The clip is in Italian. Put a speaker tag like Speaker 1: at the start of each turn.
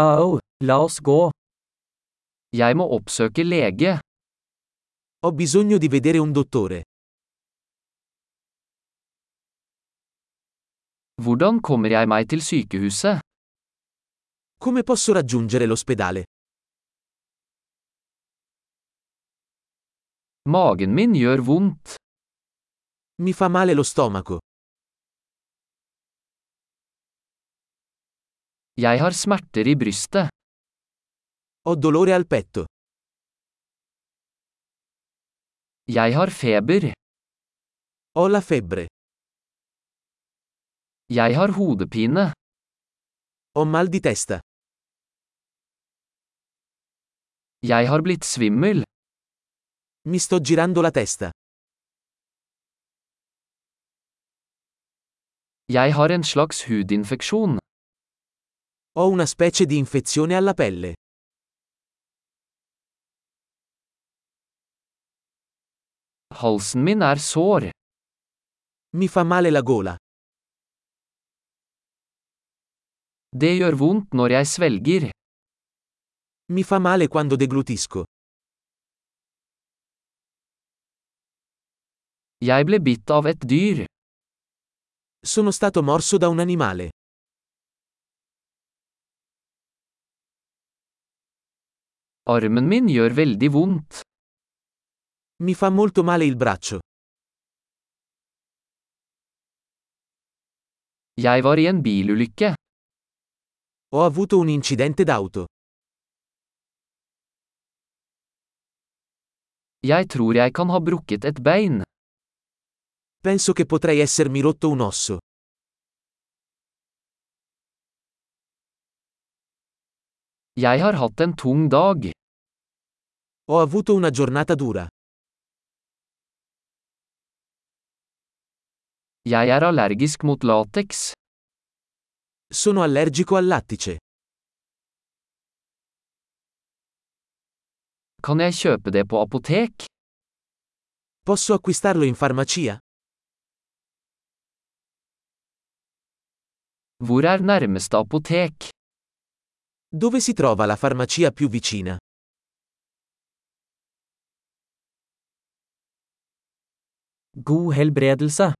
Speaker 1: Au, la oss gå. Jeg må oppsøke lege.
Speaker 2: Ho bisogno di vedere un dottore.
Speaker 1: Hvordan kommer jeg meg til sykehuset?
Speaker 2: Come posso raggiungere l'ospedale?
Speaker 1: Magen min gjør vondt.
Speaker 2: Mi fa male lo stomaco.
Speaker 1: Jeg har smerter i brystet.
Speaker 2: Ho dolore al petto.
Speaker 1: Jeg har feber.
Speaker 2: Ho la febbre.
Speaker 1: Jeg har hodepine.
Speaker 2: Ho mal di testa.
Speaker 1: Jeg har blitt svimmel.
Speaker 2: Mi sto girando la testa.
Speaker 1: Jeg har en slags hudinfeksjon.
Speaker 2: Ho una specie di infezione alla pelle.
Speaker 1: Halsen min er sår.
Speaker 2: Mi fa male la gola.
Speaker 1: Det gjør vondt når jeg svelger.
Speaker 2: Mi fa male quando deglutisco.
Speaker 1: Jeg ble bitt av et dyr.
Speaker 2: Sono stato morso da un animale.
Speaker 1: Armen min gjør veldig vondt.
Speaker 2: Mi fa molto male il braccio.
Speaker 1: Jeg var i en bilulykke.
Speaker 2: Ho avuto un incidente d'auto.
Speaker 1: Jeg tror jeg kan ha brukket et bein.
Speaker 2: Penso che potrei essermi rotto un osso.
Speaker 1: Jeg har hatt en tung dag.
Speaker 2: Ho avuto una giornata dura.
Speaker 1: Jeg er allergisk mot lateks.
Speaker 2: Sono allergico al lattice.
Speaker 1: Kan jeg kjøpe det på apotek?
Speaker 2: Posso acquistarlo in farmacia?
Speaker 1: Hvor er nærmeste apotek?
Speaker 2: Dove si trova la farmacia più vicina?
Speaker 1: God helbredelse.